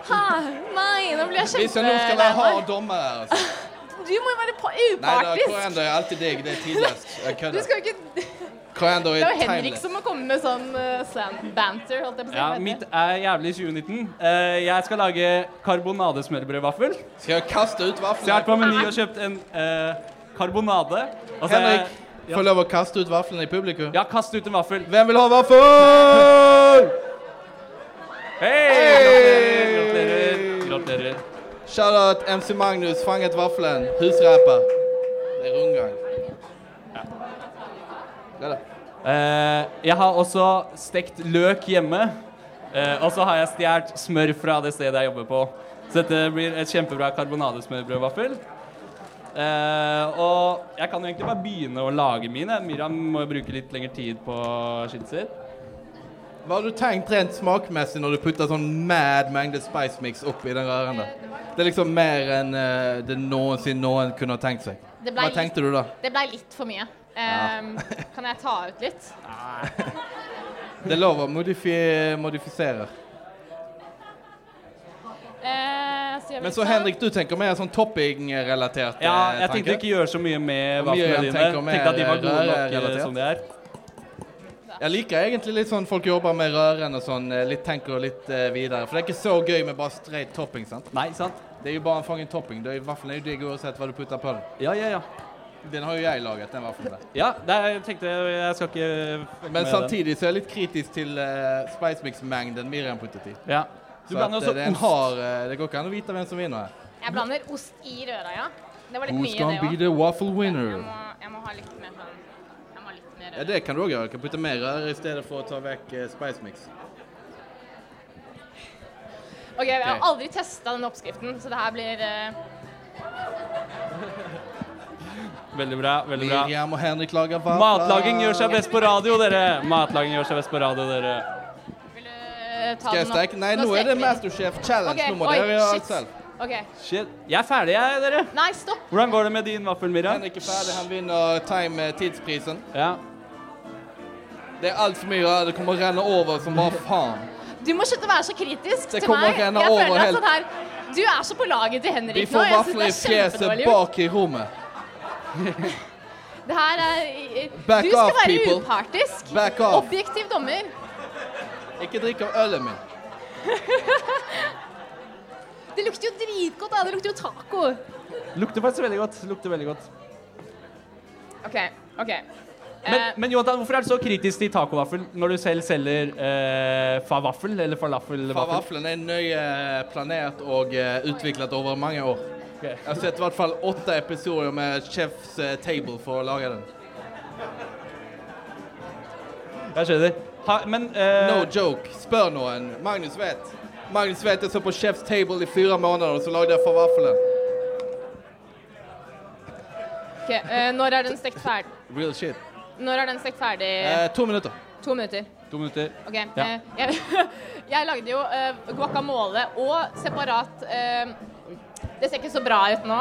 Speaker 5: Ha, nei, nå blir jeg
Speaker 4: Hvis jeg nå skal være
Speaker 5: kjempelei
Speaker 4: hard
Speaker 5: meg.
Speaker 4: dommer her, altså.
Speaker 5: Du må jo være pa-
Speaker 4: Nei, da,
Speaker 5: upartisk.
Speaker 4: koriander er alltid digg. Det er tidligst. Jeg
Speaker 5: Du
Speaker 4: kødder.
Speaker 5: skal jo ikke
Speaker 4: Koriander
Speaker 5: Det
Speaker 4: er
Speaker 5: var Henrik
Speaker 4: timeless.
Speaker 5: som må komme med sånn eh, sand- banter, holdt jeg på å si.
Speaker 3: Ja,
Speaker 5: Hva heter
Speaker 3: mitt
Speaker 5: det?
Speaker 3: er jævlig 2019. Eh, jeg skal lage karbonadesmørbrødvaffel. Så
Speaker 4: Skal jeg kaste ut
Speaker 3: jeg har vært på
Speaker 4: vaflene?
Speaker 3: Meny og kjøpt en eh, karbonade. Og så har jeg-
Speaker 4: Henrik, få lov å kaste ut vaflene i publikum.
Speaker 3: Ja, kast ut en vaffel.
Speaker 4: Hvem vil ha vaffel?
Speaker 3: Hei! Gratulerer. Gratulerer.
Speaker 4: Shoutout MC Magnus, fanget vaffelen. Husrapper. Det er rundgang. Ja. da.
Speaker 3: Eh, jeg har også stekt løk hjemme. Eh, og så har jeg stjålet smør fra det stedet jeg jobber på. Så dette blir et kjempebra karbonadesmørbrødvaffel. Eh, og jeg kan jo egentlig bare begynne å lage mine. Miriam må jo bruke litt lengre tid på skittet sitt.
Speaker 4: Hva har du tenkt rent smakmessig når du putter sånn mad mengde spice mix opp i den røren der? Det er liksom mer enn eh, det noensinne noen kunne ha tenkt seg.
Speaker 5: Det ble
Speaker 4: Hva
Speaker 5: litt-
Speaker 4: tenkte du da?
Speaker 5: Det ble litt for mye. Ehm, kan jeg ta ut litt?
Speaker 4: Det er lov å modifi modifisere.
Speaker 5: Eh, gjør vi
Speaker 4: Men
Speaker 5: litt
Speaker 4: så
Speaker 5: sånn.
Speaker 4: Henrik, du tenker mer sånn topping-relatert eh,
Speaker 3: Ja, jeg tenkte ikke gjøre så mye med
Speaker 4: Hvor mye
Speaker 3: vaflene
Speaker 4: jeg
Speaker 3: dine.
Speaker 4: tenker om
Speaker 3: Tenkte at de
Speaker 4: er
Speaker 3: var gode nok eh,
Speaker 4: rødrelatert.
Speaker 3: som de er.
Speaker 4: Jeg liker egentlig litt sånn folk jobber med røren og sånn, eh, litt tenker og litt eh, videre. For det er ikke så gøy med bare straight topping, sant?
Speaker 3: Nei, sant?
Speaker 4: Det er jo bare en fangen topping. Det er, vaffelen er jo digg uansett hva du putter på den.
Speaker 3: Ja, ja, ja.
Speaker 4: Den har jo jeg laget, den vaffelen der.
Speaker 3: Ja, det, er- jeg tenkte jeg skal ikke fucke
Speaker 4: Men
Speaker 3: med
Speaker 4: samtidig så er jeg litt kritisk til eh, spice mix-mengden Miriam puttet i.
Speaker 3: den. Ja. Du
Speaker 4: Så at,
Speaker 3: blander
Speaker 4: eh, det er en
Speaker 3: også ost.
Speaker 4: hard, eh, det går ikke an å vite hvem som vinner her.
Speaker 5: sånn. Jeg blander ost i røra, ja. Det var litt
Speaker 4: Who's
Speaker 5: mye,
Speaker 4: gonna
Speaker 5: det
Speaker 4: be
Speaker 5: òg.
Speaker 4: the waffle winner?
Speaker 5: Jeg, må- jeg må ha litt mer sånn Jeg må ha litt mer
Speaker 4: Ja,
Speaker 5: røre.
Speaker 4: det kan du òg gjøre. Du kan putte mer røre i stedet for å ta vekk eh, spice mix.
Speaker 5: OK, jeg har
Speaker 4: Ok.
Speaker 5: aldri testa den oppskriften, så det her blir eh,
Speaker 3: Veldig bra. veldig bra.
Speaker 4: Miriam og Henrik lager vafler.
Speaker 3: Matlaging gjør seg best på radio, dere! Matlaging gjør seg best på radio, dere.
Speaker 5: Vil du eh, ta
Speaker 4: Skal
Speaker 5: den
Speaker 4: jeg steke? Nei, nå er det Masterchef Challenge.
Speaker 5: Ok,
Speaker 4: Nå må
Speaker 5: oi,
Speaker 4: dere gjøre
Speaker 5: shit.
Speaker 4: alt selv.
Speaker 5: OK.
Speaker 3: Shit. Jeg er ferdig, jeg, dere.
Speaker 5: Nei, stopp.
Speaker 3: Hvordan går det med din vaffel, Miriam?
Speaker 4: Henrik er ferdig. Han vinner time eh, tidsprisen.
Speaker 3: Ja.
Speaker 4: Det er altfor mye røre. Det kommer å renne over som bare faen.
Speaker 5: Du må slutte å være så kritisk
Speaker 4: Det
Speaker 5: til
Speaker 4: kommer
Speaker 5: meg.
Speaker 4: ikke
Speaker 5: Jeg
Speaker 4: henne over
Speaker 5: føler at
Speaker 4: helt.
Speaker 5: sånn her Du er så på laget til Henrik
Speaker 4: Vi
Speaker 5: nå.
Speaker 4: får
Speaker 5: Jeg synes
Speaker 4: vafler i
Speaker 5: det er kjempedårlig
Speaker 4: fjeset
Speaker 5: gjort.
Speaker 4: bak i rommet.
Speaker 5: Det her er
Speaker 4: Back
Speaker 5: Du skal
Speaker 4: off,
Speaker 5: være
Speaker 4: people.
Speaker 5: upartisk.
Speaker 4: Back off.
Speaker 5: Objektiv dommer.
Speaker 4: Ikke drikk av ølet mitt.
Speaker 5: Det lukter jo dritgodt, da. Det lukter jo taco.
Speaker 3: Lukter faktisk veldig godt. Lukter veldig godt.
Speaker 5: OK. OK. Eh,
Speaker 3: Men, men Jonathan, hvorfor er du så kritisk til tacovaffel når du selv selger eh, favaffel? Eller falafelvaffel?
Speaker 4: Vaflene er nøye planert og eh, utviklet over mange år.
Speaker 3: Ok.
Speaker 4: Jeg har sett i hvert fall åtte episoder med Chef's eh, Table for å lage den.
Speaker 3: Jeg skjønner. Ha, men eh,
Speaker 4: No joke. Spør noen. Magnus vet. Magnus vet jeg så på Chef's Table i fire måneder, og så lagde jeg falafelen.
Speaker 5: ok, eh, når er den stekt ferdig?
Speaker 4: Real shit.
Speaker 5: Når er den stekt ferdig?
Speaker 4: Eh, to minutter.
Speaker 5: To minutter.
Speaker 3: To minutter.
Speaker 5: OK. eh, jeg, jeg lagde jo eh, guacamole og separat eh, Det ser ikke så bra ut nå.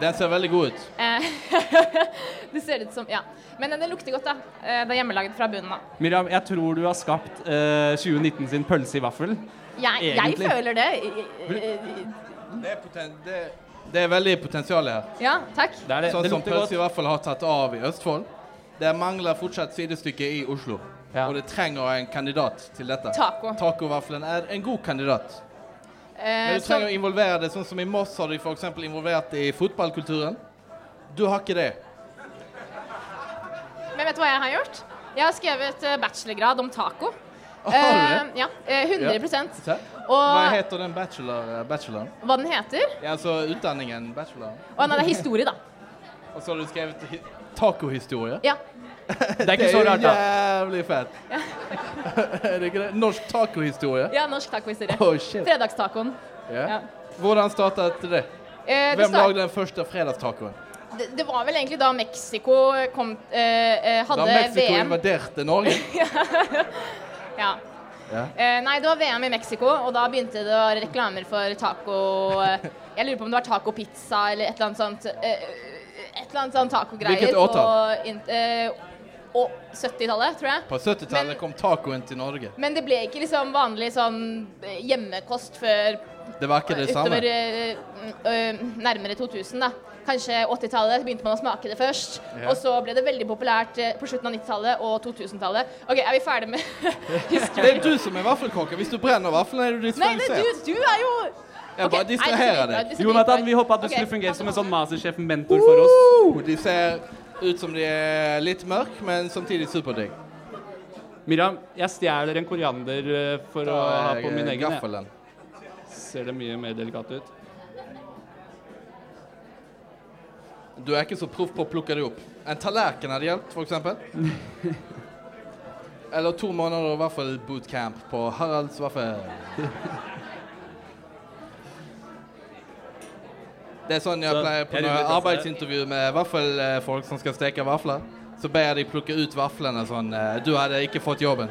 Speaker 4: Den ser veldig god ut.
Speaker 5: Eh, det ser ut som Ja. Men den lukter godt, da. Eh, Det er hjemmelaget fra bunnen av.
Speaker 3: Miriam, jeg tror du har skapt eh, 2019 sin pølse i vaffel.
Speaker 5: Jeg, jeg
Speaker 3: Egentlig.
Speaker 5: føler det. Eh, eh,
Speaker 4: Det er, poten det det er veldig potensial her.
Speaker 5: Ja, takk.
Speaker 3: Det er Eh, det.
Speaker 4: Sånn
Speaker 3: det
Speaker 4: som
Speaker 3: lukter
Speaker 4: pølse i
Speaker 3: godt.
Speaker 4: hvert fall har tatt av i Østfold. Det mangler fortsatt sidestykke i Oslo.
Speaker 3: Ja.
Speaker 4: Og det trenger en kandidat til dette.
Speaker 5: Taco.
Speaker 4: Tacovaffelen er en god kandidat.
Speaker 5: Eh,
Speaker 4: Men du
Speaker 5: så-
Speaker 4: trenger å involvere det, sånn som i Moss har de for eksempel involvert i fotballkulturen. Du har ikke det.
Speaker 5: men vet du hva jeg har gjort? Jeg har skrevet eh, bachelorgrad om taco.
Speaker 4: Har du
Speaker 5: Eh, ja, eh, 100
Speaker 4: Se. Hva
Speaker 5: Og
Speaker 4: heter den bachelor, eh, bacheloren?
Speaker 5: hva den heter?
Speaker 4: Ja, altså utdanningen bachelor.
Speaker 5: Å nei, det er historie, da.
Speaker 4: Og så har du skrevet hi- tacohistorie.
Speaker 5: Ja.
Speaker 3: Det er ikke så rart, da.
Speaker 4: jævlig fett. er det ikke det? Norsk tacohistorie.
Speaker 5: ja norsk tacohistorie.
Speaker 4: Oh, shit.
Speaker 5: Fredagstacoen.
Speaker 4: Ja.
Speaker 5: Ja.
Speaker 4: Hvordan startet det?
Speaker 5: Eh, det,
Speaker 4: Hvem
Speaker 5: start,
Speaker 4: lagde den første fredagstacoen?
Speaker 5: det, det var vel egentlig da Mexico kom, eh,
Speaker 4: Da
Speaker 5: eh, hadde
Speaker 4: Mexico
Speaker 5: VM.
Speaker 4: invaderte Norge.
Speaker 5: Ja.
Speaker 4: Ja.
Speaker 5: Eh, nei, det var VM i Mexico, og da begynte det å være reklamer for taco eh, Jeg lurer på om det var tacopizza eller et eller annet sånt. eh, et eller annet sånn tacogreier.
Speaker 4: Hvilket årtall?
Speaker 5: på in- eh, å- 70-tallet, tror jeg.
Speaker 4: På 70-tallet
Speaker 5: Men-
Speaker 4: kom tacoen til Norge.
Speaker 5: Men det ble ikke liksom vanlig sånn eh, hjemmekost før
Speaker 4: Det var ikke det samme.
Speaker 5: utover eh, eh, nærmere 2000, da. Kanskje 80-tallet begynte man å smake det først.
Speaker 4: Ja.
Speaker 5: Og så ble det veldig populært eh, på slutten av 90-tallet og 2000-tallet. OK, er vi ferdig med
Speaker 4: Det er du som er vaffelkokken. Hvis du brenner vaffelen, er du
Speaker 5: Nei, men
Speaker 4: disfalisert.
Speaker 5: du, du er jo
Speaker 4: Jeg bare
Speaker 5: Ok, nei, det ser
Speaker 4: distraherer
Speaker 5: dritbra ut,
Speaker 4: deg.
Speaker 5: det ser
Speaker 3: Jonathan,
Speaker 5: dritbra ut.
Speaker 3: vi håper at du
Speaker 5: Ok,
Speaker 3: skulle fungere som en
Speaker 5: takk.
Speaker 3: sånn masterchef-mentor for oss.
Speaker 4: Oh, de ser ut som de er litt mørk, men samtidig superdigg.
Speaker 3: Miriam, jeg stjeler en koriander eh, for å ha på min egen. Jeg.
Speaker 4: Gaffelen.
Speaker 3: Ser det mye mer delikat ut.
Speaker 4: Du er ikke så proff på å plukke det opp. En tallerken hadde hjulpet, f.eks. Eller to måneder og vaffelbootcamp på Haralds Vaffel. Det er sånn jeg
Speaker 3: Så,
Speaker 4: pleier på
Speaker 3: jeg
Speaker 4: når
Speaker 3: runder
Speaker 4: jeg
Speaker 3: kassen
Speaker 4: arbeidsintervju med vaffelfolk som skal steke vafler. Så ber jeg de plukke ut vaflene sånn eh, Du hadde ikke fått jobben.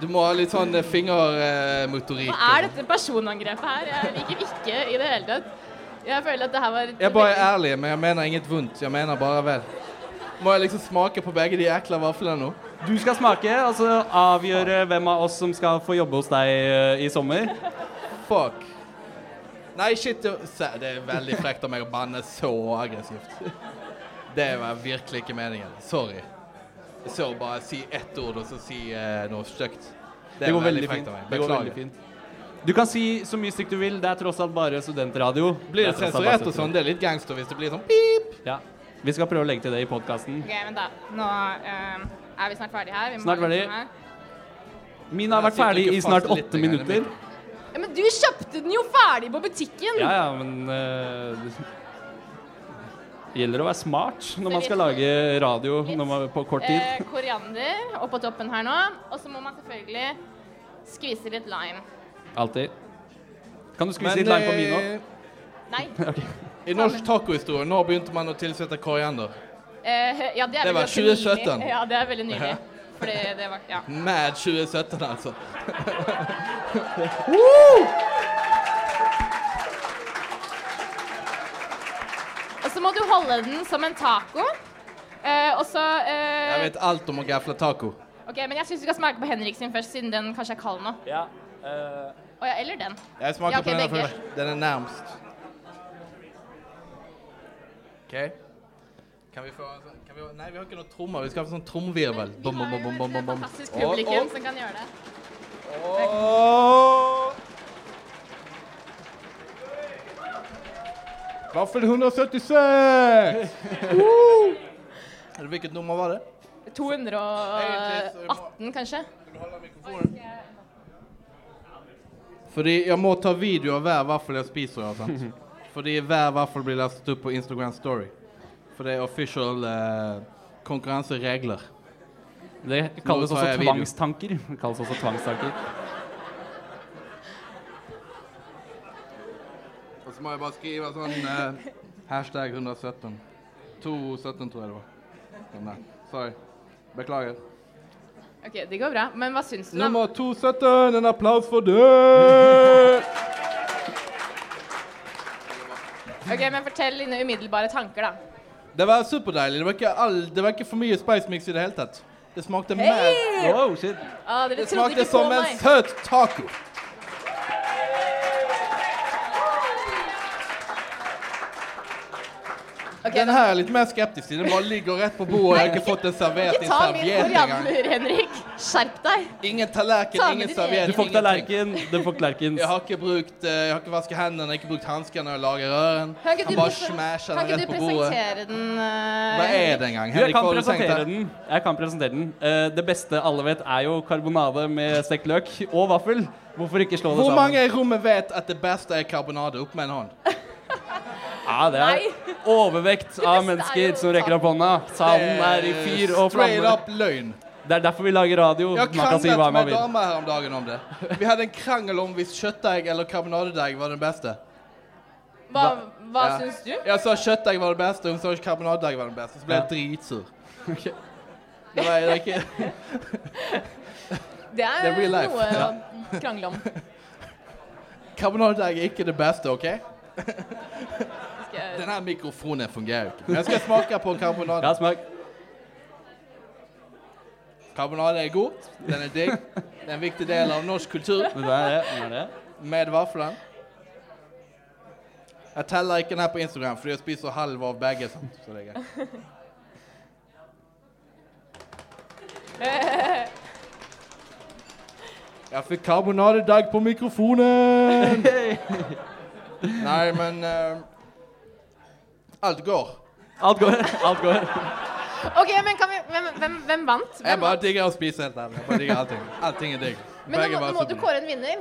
Speaker 4: Du må ha litt sånn eh, fingermotorikk.
Speaker 5: Hva er dette personangrepet her? Jeg liker ikke i det hele tatt. Jeg føler at det her var
Speaker 4: Jeg bare er ærlig, men jeg mener inget vondt. Jeg mener bare vel. Må jeg liksom smake på begge de ekle vaflene nå?
Speaker 3: Du skal smake, og så avgjøre hvem av oss som skal få jobbe hos deg eh, i sommer.
Speaker 4: Fuck. Nei, shit. Det se, det er veldig frekt av meg å banne så aggressivt. Det var virkelig ikke meningen. Sorry. Jeg så bare si ett ord, og så si eh, noe stygt.
Speaker 3: Det går veldig fint.
Speaker 4: av meg.
Speaker 3: Det går veldig
Speaker 4: Beklager.
Speaker 3: fint. Du kan si så mye stygt du vil. Det er tross alt bare studentradio.
Speaker 4: Blir det
Speaker 3: er tross alt bare
Speaker 4: sensurert og sånn? Det er litt gangster hvis det blir sånn
Speaker 3: student- Ja. Vi skal prøve å legge til det i podkasten.
Speaker 5: OK, men da. Nå eh, er vi snart ferdig her. Vi må
Speaker 3: Snart
Speaker 5: ha litt
Speaker 3: ferdig.
Speaker 5: sånn her.
Speaker 3: Min har
Speaker 4: Jeg
Speaker 3: vært
Speaker 4: sitter
Speaker 3: ferdig i
Speaker 4: ikke
Speaker 3: snart
Speaker 4: fast litt
Speaker 3: åtte
Speaker 4: engang i
Speaker 3: minutter.
Speaker 4: mikken.
Speaker 5: Ja, men du kjøpte den jo ferdig på butikken!
Speaker 3: Ja, ja, men eh, det Gjelder å være smart når man skal lage radio når man, på kort tid.
Speaker 5: Eh, koriander oppå toppen her nå. Og så må man selvfølgelig skvise litt lime.
Speaker 3: Alltid. Kan du skvise litt lime på min òg?
Speaker 4: eh,
Speaker 5: Nei.
Speaker 4: I norsk tacohistorie, når begynte man å tilsette koriander?
Speaker 5: Eh, ja, det er
Speaker 4: Det
Speaker 5: vel
Speaker 4: var
Speaker 5: ganske nylig.
Speaker 4: 2017.
Speaker 5: Ja, det er veldig nylig. Fordi det var Ja.
Speaker 4: Mad 2017, altså.
Speaker 5: Og så må du holde den som en taco. Eh, og så eh,
Speaker 4: Jeg vet alt om å gafle taco.
Speaker 5: Ok, men jeg syns vi skal smake på Henrik sin først, siden den kanskje er kald nå.
Speaker 3: Ja.
Speaker 4: eh,
Speaker 5: Å ja, eller den.
Speaker 4: Jeg smaker
Speaker 5: Ja, ok,
Speaker 4: på den
Speaker 5: begge.
Speaker 4: først. Den er nærmest. OK. Kan vi få en sånn kan vi, Nei, vi har ikke noe trommer. Vi skal ha en sånn tromvirvel. Bom, bom, bom, bom, bom, bom.
Speaker 5: Fantastisk publikum som kan gjøre det.
Speaker 4: Vaffel 176! Hvilket nummer var det?
Speaker 5: 218, kanskje?
Speaker 4: Fordi jeg må ta video av hver vaffel jeg spiser. og sånt. Fordi hver vaffel blir lastet opp på Instagram Story. For det er official eh, konkurranseregler.
Speaker 3: Det kalles
Speaker 4: Nå tar
Speaker 3: også
Speaker 4: jeg video.
Speaker 3: tvangstanker. Det kalles også tvangstanker.
Speaker 4: Og så må jeg bare skrive sånn eh, Hashtag 117 217 tror jeg det var Den der. Sorry Beklager
Speaker 5: OK, det går bra. Men hva syns du, da?
Speaker 4: Nummer 217 En applaus for det
Speaker 5: Ok, men Fortell dine umiddelbare tanker, da.
Speaker 4: Det var superdeilig Det var ikke, all, det var ikke for mye spice mix i det hele tatt Det smakte mad
Speaker 3: Wow, shit.
Speaker 5: Å, dere
Speaker 4: Det smakte
Speaker 5: trodde ikke på
Speaker 4: som en
Speaker 5: meg.
Speaker 4: søt taco
Speaker 5: Ok,
Speaker 4: Den
Speaker 5: da-
Speaker 4: her er litt mer skeptisk til Den bare ligger rett på bordet Jeg har ikke fått den servert i
Speaker 5: Ikke
Speaker 4: en
Speaker 5: ta min
Speaker 4: serviett engang
Speaker 5: koriander, Henrik. Skjerp deg.
Speaker 4: Ingen tallerken,
Speaker 5: Ta med
Speaker 4: ingen
Speaker 5: din
Speaker 4: serviett
Speaker 5: egen.
Speaker 3: Du får ikke tallerken. Du får ikke tallerken.
Speaker 4: Jeg har ikke brukt eh, Jeg har ikke vasket hendene, jeg har ikke brukt hansker når jeg lager røren.
Speaker 5: Kan ikke
Speaker 4: Han
Speaker 5: du,
Speaker 4: bare
Speaker 5: presen-
Speaker 4: smasher
Speaker 5: kan
Speaker 4: den
Speaker 5: ikke
Speaker 4: rett
Speaker 5: du
Speaker 4: på bordet.
Speaker 5: presentere den?
Speaker 4: Hva
Speaker 5: eh,
Speaker 4: er det engang?
Speaker 3: Du, jeg
Speaker 4: Henrik,
Speaker 3: kan
Speaker 4: hva har du tenkt
Speaker 3: presentere
Speaker 4: deg?
Speaker 3: den. Jeg kan presentere den. Eh, det beste alle vet, er jo karbonade med stekt løk og vaffel. Hvorfor ikke slå det
Speaker 4: Hvor
Speaker 3: sammen?
Speaker 4: mange i rommet vet at det beste er karbonade? Opp med en hånd.
Speaker 3: Ja, det er overvekt av mennesker som rekker opp hånda. Salen er i fyr og
Speaker 4: Eh, Straight
Speaker 3: flamme.
Speaker 4: up løgn.
Speaker 3: Det er derfor vi lager radio.
Speaker 4: Jeg har
Speaker 3: Man kan si hva
Speaker 4: kranglet
Speaker 3: man
Speaker 4: med
Speaker 3: vil.
Speaker 4: dama her om dagen om det. Vi hadde en krangel om hvis kjøttdeig eller karbonadedeig var den beste.
Speaker 5: Hva, hva
Speaker 4: Ja.
Speaker 5: syns du?
Speaker 4: Jeg sa kjøttdeig var det beste, hun sa ikke karbonadedeig var den beste. Så ble jeg dritsur. Det var, det var ikke,
Speaker 5: Det
Speaker 4: Det
Speaker 5: er
Speaker 4: er real life.
Speaker 5: noe
Speaker 4: Ja.
Speaker 5: å krangle om.
Speaker 4: karbonadedeig er ikke det beste, OK?
Speaker 5: Skal jeg-
Speaker 4: Denne mikrofonen fungerer jo ikke. Men jeg skal smake på karbonade.
Speaker 3: Ja, smak.
Speaker 4: Karbonade er god. Den er digg. Det er en viktig del av norsk kultur
Speaker 3: Det er det. Det er det.
Speaker 4: med vafler. Jeg teller ikke den her på Instagram, fordi jeg spiser halv av begge. sant? Så det er greit. Jeg fikk karbonadedeig på mikrofonen! Nei, men eh, Alt går.
Speaker 3: Alt går. Alt går.
Speaker 5: OK, men kan vi, hvem, hvem, hvem vant?
Speaker 4: Jeg
Speaker 5: Hvem
Speaker 4: bare
Speaker 5: vant?
Speaker 4: digger å spise helt ærlig. Jeg bare digger allting. Allting er digg.
Speaker 5: Men nå
Speaker 4: Begge
Speaker 5: må,
Speaker 4: var
Speaker 5: nå må du
Speaker 4: superdigg.
Speaker 5: kåre en vinner.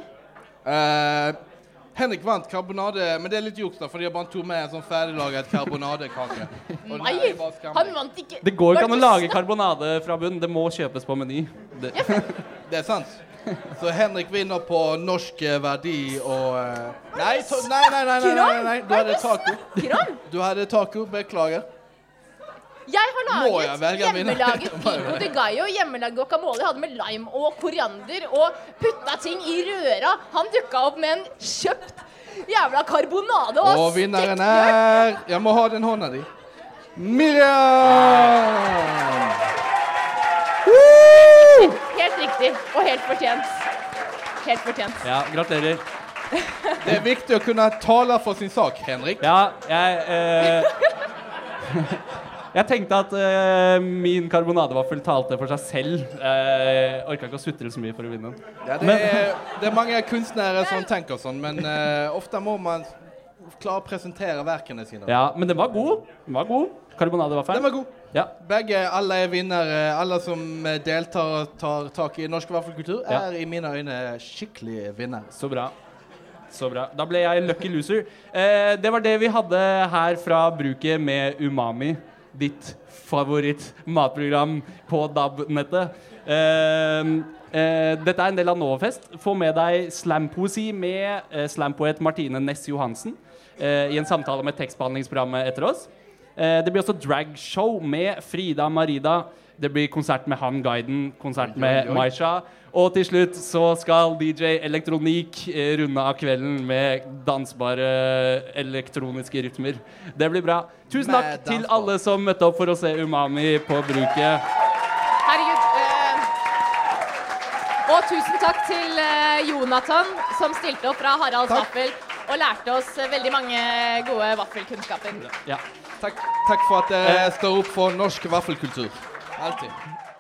Speaker 4: Eh, Henrik vant karbonade, men det er litt juks, da, fordi jeg bare tok med en sånn ferdiglaget karbonadekake. Og den
Speaker 5: Nei,
Speaker 4: er bare skammelig.
Speaker 5: han vant ikke.
Speaker 3: Det går
Speaker 5: Var
Speaker 3: ikke an å
Speaker 5: du
Speaker 3: lage
Speaker 5: snakk-
Speaker 3: karbonade fra bunn. Det må kjøpes på Meny. Det-
Speaker 4: Det er sant. Så Henrik vinner på norsk eh, verdi og eh, nei, to, nei, nei, nei, nei, nei, nei, nei, du
Speaker 5: Hva er
Speaker 4: hadde
Speaker 5: det du
Speaker 4: taco.
Speaker 5: snakker om?
Speaker 4: Du hadde taco, beklager.
Speaker 5: Jeg har
Speaker 4: Må jeg
Speaker 5: laget
Speaker 4: velge en vinner?
Speaker 5: hjemmelaget pico de gallo, hjemmelaget guacamole. Jeg hadde med lime og koriander og putta ting i røra. Han dukka opp med en kjøpt jævla karbonade og,
Speaker 4: Og
Speaker 5: stekt
Speaker 4: vinneren
Speaker 5: løk.
Speaker 4: er Jeg må ha den hånda di. Miriam!
Speaker 5: Helt riktig og helt fortjent. Helt fortjent.
Speaker 3: Ja, gratulerer.
Speaker 4: Det er viktig å kunne tale for sin sak, Henrik.
Speaker 3: Ja, jeg eh, Jeg tenkte at eh, min karbonadevaffel talte for seg selv. Eh, Orka ikke å sutre så mye for å vinne den.
Speaker 4: Ja, det,
Speaker 3: Men-
Speaker 4: er, det er mange kunstnere som tenker sånn, men eh, ofte må man klare å presentere verkene sine.
Speaker 3: Ja, men den var god. Den var god. Karbonadevaffel.
Speaker 4: Den var god.
Speaker 3: Ja.
Speaker 4: Begge, alle er vinnere. Alle som eh, deltar og tar tak i norsk vaffelkultur,
Speaker 3: Ja.
Speaker 4: er i mine øyne skikkelig vinnere.
Speaker 3: Så bra. Så bra. Da ble jeg lucky loser. Eh, det var det vi hadde her fra bruket med Umami. Ditt favoritt-matprogram på DAB-nettet. Eh, eh, dette er en del av Novafest. Få med deg slampoesi med eh, slampoet Martine Næss Johansen eh, i en samtale med tekstbehandlingsprogrammet etter oss. Eh, det blir også dragshow med Frida Marida. Det blir konsert med Han Guiden, konsert med Maisha. Og til slutt så skal DJ Elektronik eh, runde av kvelden med dansbare elektroniske rytmer. Det blir bra. Tusen takk
Speaker 4: Med
Speaker 3: til
Speaker 4: dansball.
Speaker 3: alle som møtte opp for å se Umami på bruket.
Speaker 5: Herregud. Eh, og tusen takk til eh, Jonathan som stilte opp fra Haralds Vaffel og lærte oss eh, veldig mange gode vaffelkunnskaper.
Speaker 3: Ja.
Speaker 4: eh,
Speaker 3: Eh.
Speaker 4: Takk, takk for at dere står opp for norsk vaffelkultur. Alltid.